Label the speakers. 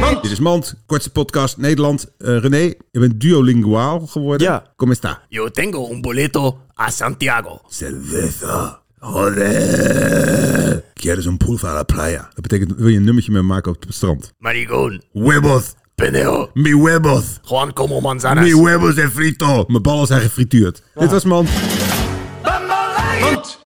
Speaker 1: Mand.
Speaker 2: Dit is Mand, kortste podcast Nederland. Eh, René, je bent duolinguaal geworden.
Speaker 1: Ja.
Speaker 2: Kom eens daar.
Speaker 1: Yo tengo un boleto a Santiago.
Speaker 2: Cerveza. Joder. Quieres un pulva a la playa. Dat betekent, wil je een nummertje met me maken op het strand?
Speaker 1: Marigon.
Speaker 2: Huevos.
Speaker 1: Peneo.
Speaker 2: Mi huevos.
Speaker 1: Juan como manzanas.
Speaker 2: Mi huevos en frito. Mijn ballen zijn gefrituurd. Dit was Mand.